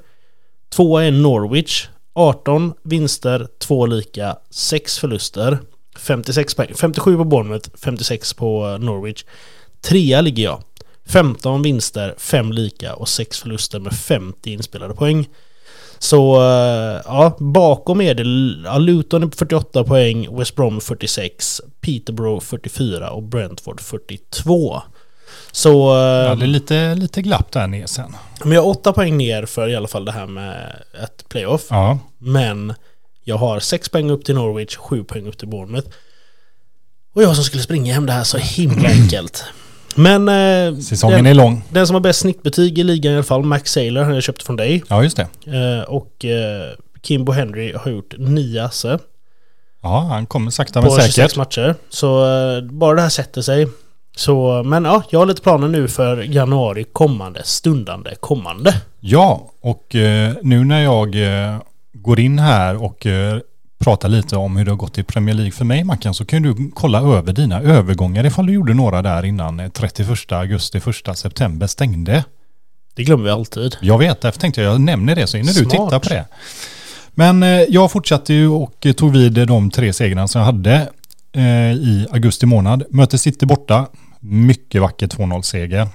[SPEAKER 1] Tvåa är Norwich, 18 vinster, 2 lika, 6 förluster. 56 poäng, 57 på Bournemouth, 56 på eh, Norwich. Trea ligger jag. 15 vinster, 5 lika och 6 förluster med 50 inspelade poäng. Så eh, ja, bakom är det ja, Luton är på 48 poäng, West Brom 46, Peterborough 44 och Brentford 42. Så... eh,
[SPEAKER 2] Det är lite, lite glapp där ner sen.
[SPEAKER 1] men jag har åtta poäng ner för i alla fall det här med ett playoff.
[SPEAKER 2] Ja.
[SPEAKER 1] Men jag har sex poäng upp till Norwich, sju poäng upp till Bournemouth. Och jag som skulle springa hem det här så
[SPEAKER 2] <clears throat>
[SPEAKER 1] himla enkelt. Men eh,
[SPEAKER 2] Säsongen
[SPEAKER 1] den,
[SPEAKER 2] är lång.
[SPEAKER 1] den som har bäst snittbetyg i ligan i alla fall, Max Saylor, han jag köpte från dig.
[SPEAKER 2] Ja, just det.
[SPEAKER 1] Eh, och eh, Kimbo Henry har gjort nio asse
[SPEAKER 2] Ja, han kommer sakta men
[SPEAKER 1] på 26
[SPEAKER 2] säkert.
[SPEAKER 1] matcher. Så eh, bara det här sätter sig. Så, men ja, jag har lite planer nu för januari kommande, stundande kommande.
[SPEAKER 2] Ja, och eh, nu när jag eh, går in här och eh, pratar lite om hur det har gått i Premier League för mig, Mackan, så kan du kolla över dina övergångar ifall du gjorde några där innan eh, 31 augusti, 1 september stängde.
[SPEAKER 1] Det glömmer vi alltid.
[SPEAKER 2] Jag vet, därför tänkte jag jag nämner det så hinner du
[SPEAKER 1] Smart.
[SPEAKER 2] titta på det. Men eh, jag fortsatte ju och eh, tog vid eh, de tre segrarna som jag hade eh, i augusti månad. Möter City borta, mycket vacker 2-0-seger.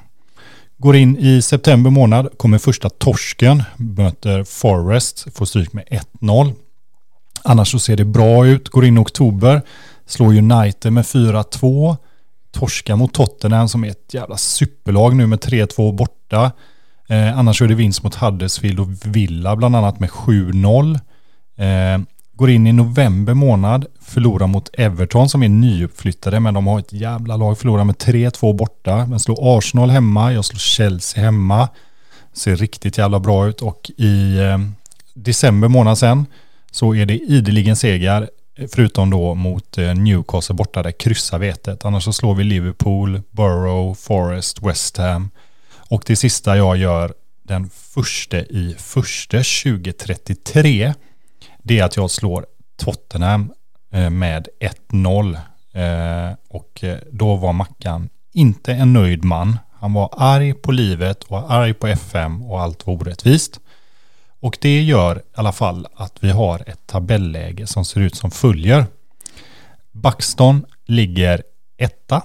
[SPEAKER 2] Går in i september månad, kommer första torsken, möter Forest, får stryk med 1-0. Annars så ser det bra ut, går in i oktober, slår United med 4-2. Torska mot Tottenham som är ett jävla superlag nu med 3-2 borta. Eh, annars så är det vinst mot Huddersfield och Villa bland annat med 7-0. Eh, går in i november månad, förlorar mot Everton som är nyuppflyttade men de har ett jävla lag, förlorar med 3-2 borta. Men slår Arsenal hemma, jag slår Chelsea hemma. Ser riktigt jävla bra ut och i eh, december månad sen så är det ideligen segar eh, förutom då mot eh, Newcastle borta där kryssar vi 1-1. Annars så slår vi Liverpool, Borough, Forest, West Ham. Och det sista jag gör den första i första 2033 det är att jag slår Tottenham eh, med 1-0. Eh, Och eh, då var Mackan inte en nöjd man. Han var arg på livet och arg på FM och allt var orättvist. Och det gör i alla fall att vi har ett tabelläge som ser ut som följer. Backstone ligger etta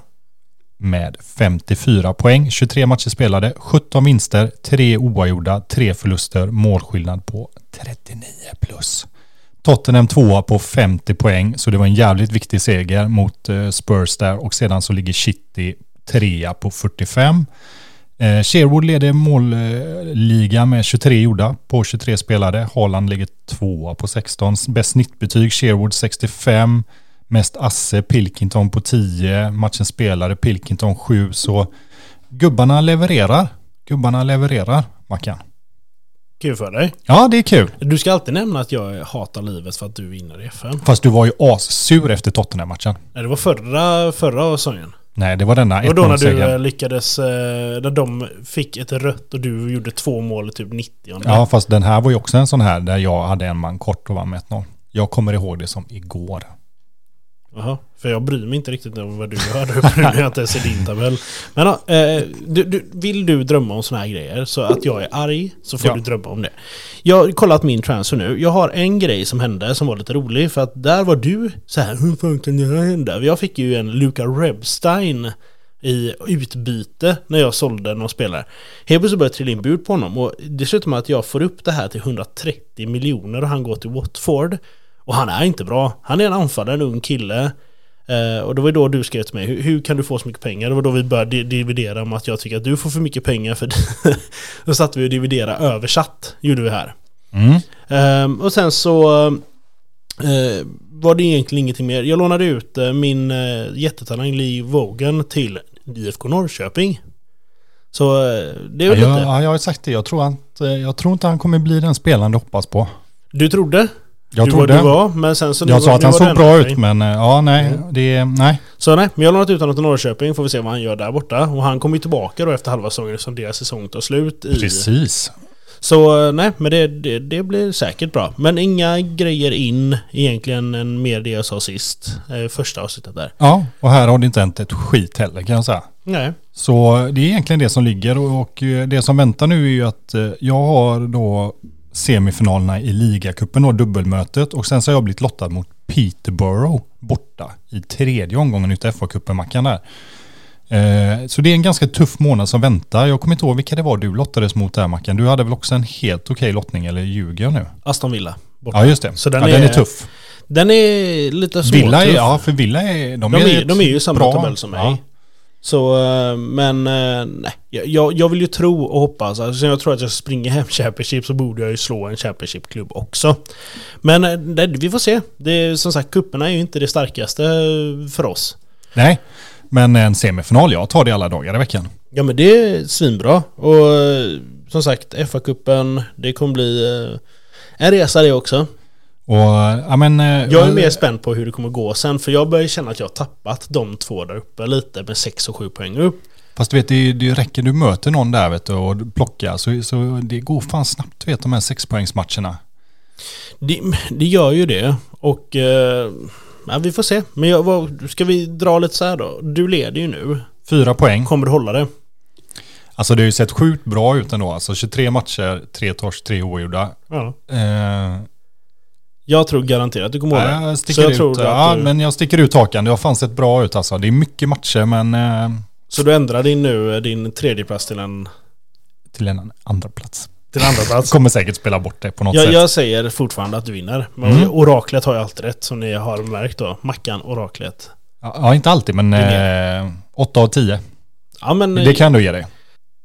[SPEAKER 2] med 54 poäng, 23 matcher spelade, 17 vinster, 3 oavgjorda, 3 förluster, målskillnad på 39 plus. Tottenham tvåa på 50 poäng, så det var en jävligt viktig seger mot eh, Spurs där och sedan så ligger City trea på 45. Eh, Sherwood leder målligan med 23 gjorda på 23 spelade. Haaland ligger tvåa på 16. Bäst snittbetyg Sherwood 65. Mest asse Pilkington på 10. Matchen spelade Pilkington 7. Så gubbarna levererar. Gubbarna levererar, Mackan.
[SPEAKER 1] Kul för dig.
[SPEAKER 2] Ja, det är kul.
[SPEAKER 1] Du ska alltid nämna att jag hatar livet för att du vinner i FM.
[SPEAKER 2] Fast du var ju assur efter Tottenham-matchen.
[SPEAKER 1] Nej, det var förra, förra säsongen.
[SPEAKER 2] Nej, det var denna
[SPEAKER 1] Det var då när du
[SPEAKER 2] 1-0-segern.
[SPEAKER 1] eh, lyckades, eh, när de fick ett rött och du gjorde två mål i typ 90
[SPEAKER 2] Ja, fast den här var ju också en sån här där jag hade en man kort och vann med 1-0. Jag kommer ihåg det som igår.
[SPEAKER 1] Jaha, för jag bryr mig inte riktigt om vad du gör. Jag <laughs> bryr mig inte ens i din tabell. Men ja, eh, du, du, vill du drömma om såna här grejer, så att jag är arg, så får
[SPEAKER 2] Ja.
[SPEAKER 1] du drömma om det. Jag har kollat min transfer nu. Jag har en grej som hände som var lite rolig, för att där var du så här, hur fan kan det här hända? Jag fick ju en Luca Rebstein i utbyte när jag sålde någon spelare. Helt plötsligt började det trilla in bud på honom och det slutar med att jag får upp det här till 130 miljoner och han går till Watford. Och han är inte bra. Han är en anfallare, en ung kille. Eh, och det var ju då du skrev till mig, hur, hur kan du få så mycket pengar? Det var då vi började di- dividera om att jag tycker att du får för mycket pengar för <laughs> Då satt vi och dividera översatt, gjorde vi här.
[SPEAKER 2] Mm.
[SPEAKER 1] Ehm, och sen så eh, var det egentligen ingenting mer. Jag lånade ut eh, min eh, jättetalang Lee Vogan till IFK Norrköping. Så eh, det är
[SPEAKER 2] Ja,
[SPEAKER 1] väl
[SPEAKER 2] jag,
[SPEAKER 1] lite.
[SPEAKER 2] ja, jag har ju sagt det. Jag tror, att, eh, jag tror inte han kommer bli den spelaren du hoppas på.
[SPEAKER 1] Du trodde?
[SPEAKER 2] Jag
[SPEAKER 1] du
[SPEAKER 2] trodde.
[SPEAKER 1] Var, du var, men sen så nu
[SPEAKER 2] jag
[SPEAKER 1] var-
[SPEAKER 2] sa att
[SPEAKER 1] nu
[SPEAKER 2] han
[SPEAKER 1] var Mm.
[SPEAKER 2] såg
[SPEAKER 1] det
[SPEAKER 2] bra
[SPEAKER 1] ändrat
[SPEAKER 2] ut,
[SPEAKER 1] sig.
[SPEAKER 2] men eh, ja, nej, det, nej.
[SPEAKER 1] Så nej, men jag har lånat ut honom till Norrköping, får vi se vad han gör där borta. Och han kommer ju tillbaka då efter halva säsongen som deras säsong tar slut i.
[SPEAKER 2] Precis.
[SPEAKER 1] Så eh, nej, men det, det, det blir säkert bra. Men inga grejer in egentligen än mer det jag sa sist. Eh, första avsnittet där.
[SPEAKER 2] Ja, och här har det inte hänt ett skit heller kan jag säga.
[SPEAKER 1] Nej.
[SPEAKER 2] Så det är egentligen det som ligger och, och eh, det som väntar nu är ju att eh, jag har då semifinalerna i ligacupen och dubbelmötet och sen så har jag blivit lottad mot Peterborough borta i tredje omgången utav FA-cupen-mackan där. Eh, så det är en ganska tuff månad som väntar. Jag kommer inte ihåg vilka det var du lottades mot där Mackan. Du hade väl också en helt okej lottning, eller ljuger jag nu?
[SPEAKER 1] Aston Villa. Borta.
[SPEAKER 2] Ja, just det.
[SPEAKER 1] Så
[SPEAKER 2] Så
[SPEAKER 1] den
[SPEAKER 2] den, ja, den
[SPEAKER 1] är
[SPEAKER 2] är tuff.
[SPEAKER 1] Den är lite småtuff.
[SPEAKER 2] Villa är, ja, för Villa är... De,
[SPEAKER 1] De är,
[SPEAKER 2] är,
[SPEAKER 1] de är ju i samma
[SPEAKER 2] bra-
[SPEAKER 1] tabell som mig.
[SPEAKER 2] Ja.
[SPEAKER 1] Så, eh, men eh, nej. Jag- Jag, jag vill ju tro och hoppas. Alltså, sen jag tror att jag springer hem Championship så borde jag ju slå en Championship-klubb också. Men eh, det, vi får se. Det, är- som sagt, kupperna är ju inte det starkaste eh, för oss.
[SPEAKER 2] Nej, men en semifinal, jag tar det alla dagar i veckan.
[SPEAKER 1] Ja men det är svinbra. Och eh, som sagt, FA-cupen, det kommer bli eh, en resa det också.
[SPEAKER 2] Och, ja, men, eh,
[SPEAKER 1] Jag är mer spänd på hur det kommer gå sen, för jag börjar känna att jag har tappat de två där uppe lite med 6 och 7 poäng upp.
[SPEAKER 2] Fast du vet, det, det räcker du möter någon där vet du, och plockar så, så det går fan snabbt du vet de här sexpoängsmatcherna.
[SPEAKER 1] Det, det gör ju det. Och eh, ja, vi får se. Men jag, vad, ska vi dra lite så här då? Du leder ju nu.
[SPEAKER 2] Fyra poäng.
[SPEAKER 1] Kommer du hålla det?
[SPEAKER 2] Alltså det har ju sett sjukt bra ut ändå. Alltså 23 matcher, tre torsk, tre oavgjorda.
[SPEAKER 1] Ja.
[SPEAKER 2] Eh,
[SPEAKER 1] Jag tror garanterat du kommer hålla det.
[SPEAKER 2] jag
[SPEAKER 1] Så
[SPEAKER 2] sticker
[SPEAKER 1] jag
[SPEAKER 2] ut,
[SPEAKER 1] tror att
[SPEAKER 2] ja,
[SPEAKER 1] du-
[SPEAKER 2] men jag sticker ut hakan. Det har fan sett bra ut alltså. Det är mycket matcher men eh,
[SPEAKER 1] Så du ändrar din nu, eh, din tredjeplats till en,
[SPEAKER 2] till en andra plats.
[SPEAKER 1] till en andra plats.
[SPEAKER 2] Kommer säkert spela bort det på något
[SPEAKER 1] Jag,
[SPEAKER 2] sätt.
[SPEAKER 1] jag säger fortfarande att du vinner. Men
[SPEAKER 2] Mm.
[SPEAKER 1] oraklet har ju alltid rätt som ni har märkt då. Mackan, oraklet.
[SPEAKER 2] Ja, inte alltid men eh, 8 av 10.
[SPEAKER 1] Ja men
[SPEAKER 2] Det kan du ge dig.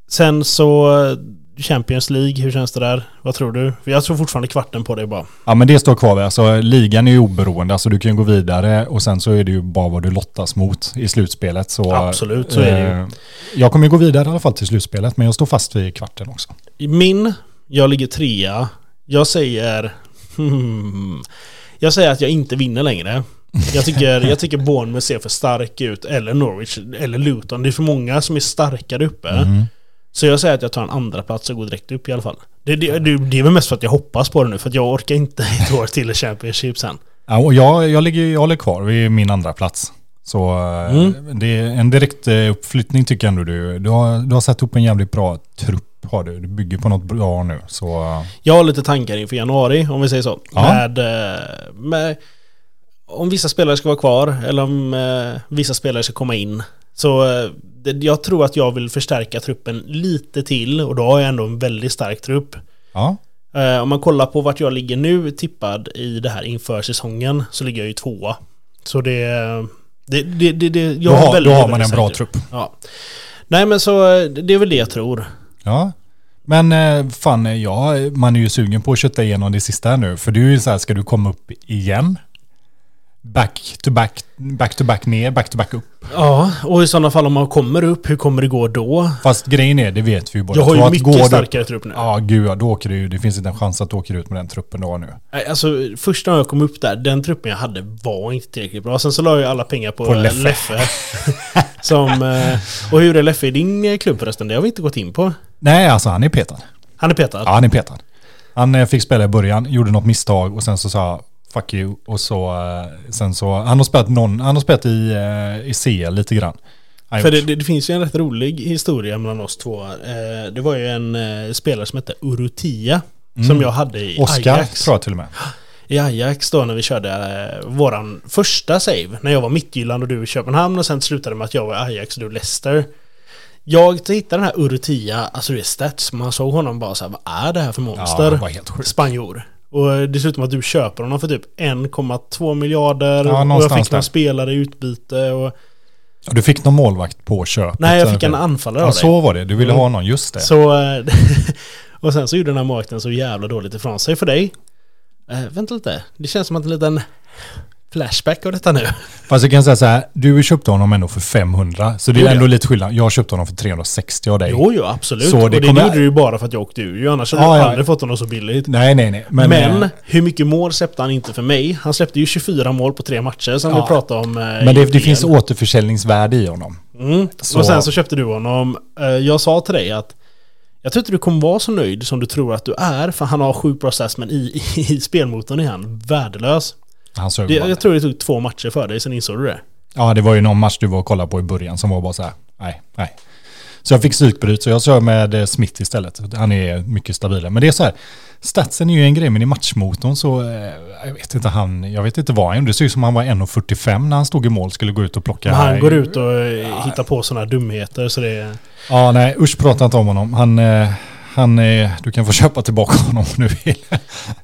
[SPEAKER 1] sen så eh, Champions League, hur känns det där? Vad tror du? För Jag tror fortfarande kvarten på dig bara.
[SPEAKER 2] Ja men det står kvar. Alltså, ligan är ju oberoende, alltså du kan ju gå vidare och sen så är det ju bara vad du lottas mot i slutspelet. Så,
[SPEAKER 1] Absolut, så är det ju.
[SPEAKER 2] eh, Jag kommer ju gå vidare i alla fall till slutspelet, men jag står fast vid kvarten också.
[SPEAKER 1] Min, jag ligger trea. Jag säger... <laughs> Hmm, jag säger att jag inte vinner längre. Jag tycker, jag tycker Bournemouth ser för stark ut, eller Norwich, eller Luton. Det är för många som är starkare uppe. Så jag säger att jag tar en andra plats och går direkt upp i alla fall. Det, det, det, det är väl mest för att jag hoppas på det nu, för att jag orkar inte <laughs> ett år till i Championship sen.
[SPEAKER 2] Ja, och jag, jag, ligger, jag håller kvar vid min andra plats. Så eh,
[SPEAKER 1] Mm.
[SPEAKER 2] det är en direkt eh, uppflyttning tycker jag ändå du. Du har, du har satt upp en jävligt bra trupp har du. Du bygger på något bra nu. Så eh,
[SPEAKER 1] Jag har lite tankar inför januari, om vi säger så.
[SPEAKER 2] Ja.
[SPEAKER 1] Med, eh, med... Om vissa spelare ska vara kvar eller om eh, vissa spelare ska komma in. Så eh, det, jag tror att jag vill förstärka truppen lite till och då har jag ändå en väldigt stark trupp.
[SPEAKER 2] ja.
[SPEAKER 1] Eh, om man kollar på vart jag ligger nu tippad i det här inför säsongen så ligger jag ju tvåa. Så det... det, det, det, det jag
[SPEAKER 2] Då har,
[SPEAKER 1] väldigt,
[SPEAKER 2] då har man en
[SPEAKER 1] väldigt
[SPEAKER 2] bra
[SPEAKER 1] stark
[SPEAKER 2] trupp.
[SPEAKER 1] Ja. Nej men så eh, det är väl det jag tror.
[SPEAKER 2] Ja. Men eh, fan, eh, ja, man är ju sugen på att kötta igenom det sista här nu. För du är ju så här, ska du komma upp igen? Back to back, back to back ner, back to back upp.
[SPEAKER 1] Ja, och i sådana fall om man kommer upp, hur kommer det gå då?
[SPEAKER 2] Fast grejen är, det vet vi ju båda
[SPEAKER 1] Jag har
[SPEAKER 2] två,
[SPEAKER 1] ju
[SPEAKER 2] att går
[SPEAKER 1] mycket
[SPEAKER 2] du-
[SPEAKER 1] starkare trupp nu.
[SPEAKER 2] Ja, gud ja, då åker du ju. Det finns inte en chans att du åker ut med den truppen du har nu.
[SPEAKER 1] Nej, Alltså första gången jag kom upp där, den truppen jag hade var inte tillräckligt bra. Sen så la jag alla pengar på,
[SPEAKER 2] På
[SPEAKER 1] eh,
[SPEAKER 2] Leffe.
[SPEAKER 1] Leffe. <laughs> som, eh, och hur är Leffe i din eh, klubb förresten? Det har vi inte gått in på.
[SPEAKER 2] Nej, alltså han är petad.
[SPEAKER 1] Han är petad.
[SPEAKER 2] Ja, han är petad. Han eh, fick spela i början, gjorde något misstag och sen så sa jag, fuck you. Och så, eh, sen så, han har spelat, någon, han har spelat i, eh, i CL lite grann. Han har
[SPEAKER 1] För
[SPEAKER 2] gjort-
[SPEAKER 1] det, det, det finns ju en rätt rolig historia mellan oss två. Eh, det var ju en eh, spelare som hette Urutia. Som jag hade i
[SPEAKER 2] Mm. Oscar
[SPEAKER 1] Ajax.
[SPEAKER 2] tror jag till och med.
[SPEAKER 1] I Ajax då när vi körde eh, våran första save. När jag var Mittjylland och du i Köpenhamn och sen slutade det med att jag var i Ajax och du i Leicester. Jag hittade den här Urrutia, alltså det är stats, man såg honom bara så här, vad är det här för monster?
[SPEAKER 2] det var helt sjukt.
[SPEAKER 1] Spanjor. Och eh, dessutom att du köper honom för typ 1,2 miljarder
[SPEAKER 2] Ja,
[SPEAKER 1] och jag
[SPEAKER 2] någonstans
[SPEAKER 1] fick några
[SPEAKER 2] där.
[SPEAKER 1] spelare i utbyte och...
[SPEAKER 2] Ja, Du fick någon målvakt på köpet.
[SPEAKER 1] Nej, jag fick en anfallare
[SPEAKER 2] Ja,
[SPEAKER 1] av dig. Mm.
[SPEAKER 2] så var det. Du ville ha någon, just det.
[SPEAKER 1] Så... eh, <laughs> och sen så gjorde den här marknaden så jävla dåligt ifrån sig för dig. Eh, vänta lite, det känns som att en liten flashback av detta nu.
[SPEAKER 2] Fast jag kan säga så här, du köpte honom ändå för 500. Så det är
[SPEAKER 1] Jo, ja.
[SPEAKER 2] ändå lite skillnad. Jag köpte honom för 360 av dig.
[SPEAKER 1] Jo, jo, absolut.
[SPEAKER 2] Så
[SPEAKER 1] och det
[SPEAKER 2] det kommer-
[SPEAKER 1] gjorde du ju bara för att jag åkte ur ju, annars hade
[SPEAKER 2] Ja,
[SPEAKER 1] jag
[SPEAKER 2] ja.
[SPEAKER 1] aldrig fått honom så billigt.
[SPEAKER 2] Nej, nej, nej. Men,
[SPEAKER 1] Men
[SPEAKER 2] eh,
[SPEAKER 1] hur mycket mål släppte han inte för mig? Han släppte ju 24 mål på tre matcher som
[SPEAKER 2] Ja.
[SPEAKER 1] vi pratade om. eh, i
[SPEAKER 2] men det, det
[SPEAKER 1] DN.
[SPEAKER 2] finns återförsäljningsvärde i honom.
[SPEAKER 1] Mm.
[SPEAKER 2] så-
[SPEAKER 1] Och sen så köpte du honom. Eh, Jag sa till dig att jag tror inte du kommer vara så nöjd som du tror att du är, för han har sjukt bra stats, men i, <laughs> i, i spelmotorn är han värdelös.
[SPEAKER 2] Han sög
[SPEAKER 1] Det,
[SPEAKER 2] bara.
[SPEAKER 1] jag tror det tog två matcher för dig, sen insåg du det.
[SPEAKER 2] Ja, det var ju någon match du var och kollade på i början som var bara så här, nej, nej. Så jag fick psykbryt, så jag kör med eh, Smith istället. Han är mycket stabilare. Men det är så här, statsen är ju en grej, men i matchmotorn så, eh, jag vet inte, han, jag vet inte vad han gjorde. Det ser ut som han var 1,45 när han stod i mål, skulle gå ut och plocka.
[SPEAKER 1] Men han går ut och eh, hittar på sådana dumheter så det är...
[SPEAKER 2] Ja, nej, usch prata inte om honom. Han, eh, han, eh, du kan få <laughs> köpa tillbaka honom om du vill.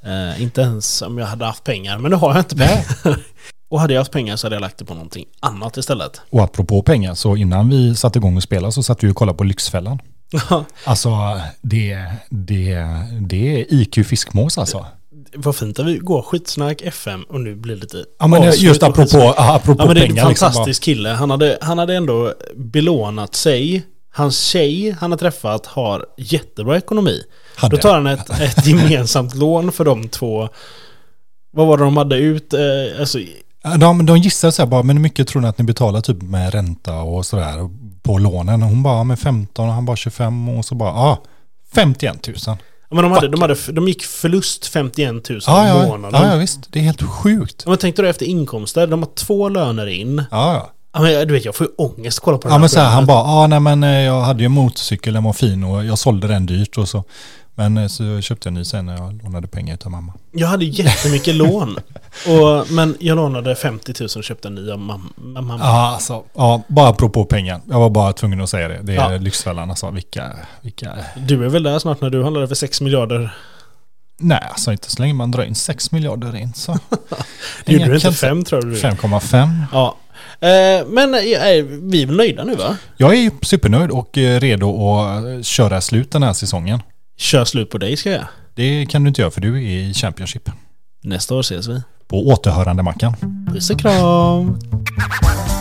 [SPEAKER 1] Eh, inte ens om jag hade haft pengar, men det har jag inte pengar. <laughs> och hade jag haft pengar så hade jag lagt det på någonting annat istället. <laughs>
[SPEAKER 2] Och apropå pengar, så innan vi satte igång och spelade så satt vi och kollade på Lyxfällan. Alltså, det, det, det är IQ fiskmås alltså.
[SPEAKER 1] Vad fint att vi går skitsnack FM och nu blir det lite...
[SPEAKER 2] Ja, men
[SPEAKER 1] avslut
[SPEAKER 2] just
[SPEAKER 1] och skitsnack.
[SPEAKER 2] apropå, ja, apropå
[SPEAKER 1] Ja men det är en
[SPEAKER 2] pengar. liksom,
[SPEAKER 1] fantastisk kille. Han hade, han hade ändå belånat sig. Hans tjej han har träffat har jättebra ekonomi.
[SPEAKER 2] bara, hade.
[SPEAKER 1] Då tar han ett, ett
[SPEAKER 2] <laughs>
[SPEAKER 1] gemensamt lån för de två. Vad var det de hade ut? Eh, alltså,
[SPEAKER 2] Ja, De, de gissar så här bara, men hur mycket tror ni att ni betalar typ med ränta och sådär på lånen? Och Hon bara, ja, men 15 och han bara 25 och så bara, ja, 51 000.
[SPEAKER 1] ja, men de, hade, de, hade, de gick förlust 51 000
[SPEAKER 2] Ja,
[SPEAKER 1] i
[SPEAKER 2] ja,
[SPEAKER 1] månaden.
[SPEAKER 2] ja, ja, visst, det är helt sjukt.
[SPEAKER 1] Ja, men tänkte du efter inkomster, de har två löner in.
[SPEAKER 2] Ja, ja.
[SPEAKER 1] Ja, men jag- du vet, jag får ju ångest att kolla på det
[SPEAKER 2] Ja
[SPEAKER 1] här
[SPEAKER 2] men så här, han
[SPEAKER 1] programmet.
[SPEAKER 2] bara, ja nej men eh, jag hade ju en motorcykel, den var fin och jag sålde den dyrt och så. Men eh, så köpte jag en ny sen när jag lånade pengar utav mamma.
[SPEAKER 1] Jag hade jättemycket
[SPEAKER 2] <laughs>
[SPEAKER 1] lån. Och, men jag lånade 50 000 och köpte en ny av mamma. mamma.
[SPEAKER 2] Ja alltså, ja bara apropå pengar. Jag var bara tvungen att säga det. Det är
[SPEAKER 1] Ja.
[SPEAKER 2] Lyxfällan alltså, vilka, vilka.
[SPEAKER 1] Du är väl där snart när du handlade för 6 miljarder?
[SPEAKER 2] Nej alltså inte så länge man drar in 6 miljarder
[SPEAKER 1] <laughs>
[SPEAKER 2] in så.
[SPEAKER 1] Det gjorde du inte
[SPEAKER 2] kanske.
[SPEAKER 1] 5 tror du?
[SPEAKER 2] 5,5.
[SPEAKER 1] Ja. Eh, men eh, vi är väl nöjda nu va?
[SPEAKER 2] Jag är ju supernöjd och eh, redo att eh, köra slut den här säsongen.
[SPEAKER 1] Kör slut på dig ska jag.
[SPEAKER 2] Det kan du inte göra för du är i Championship.
[SPEAKER 1] Nästa år ses vi.
[SPEAKER 2] På återhörande Mackan.
[SPEAKER 1] Puss och kram!
[SPEAKER 3] Thank you.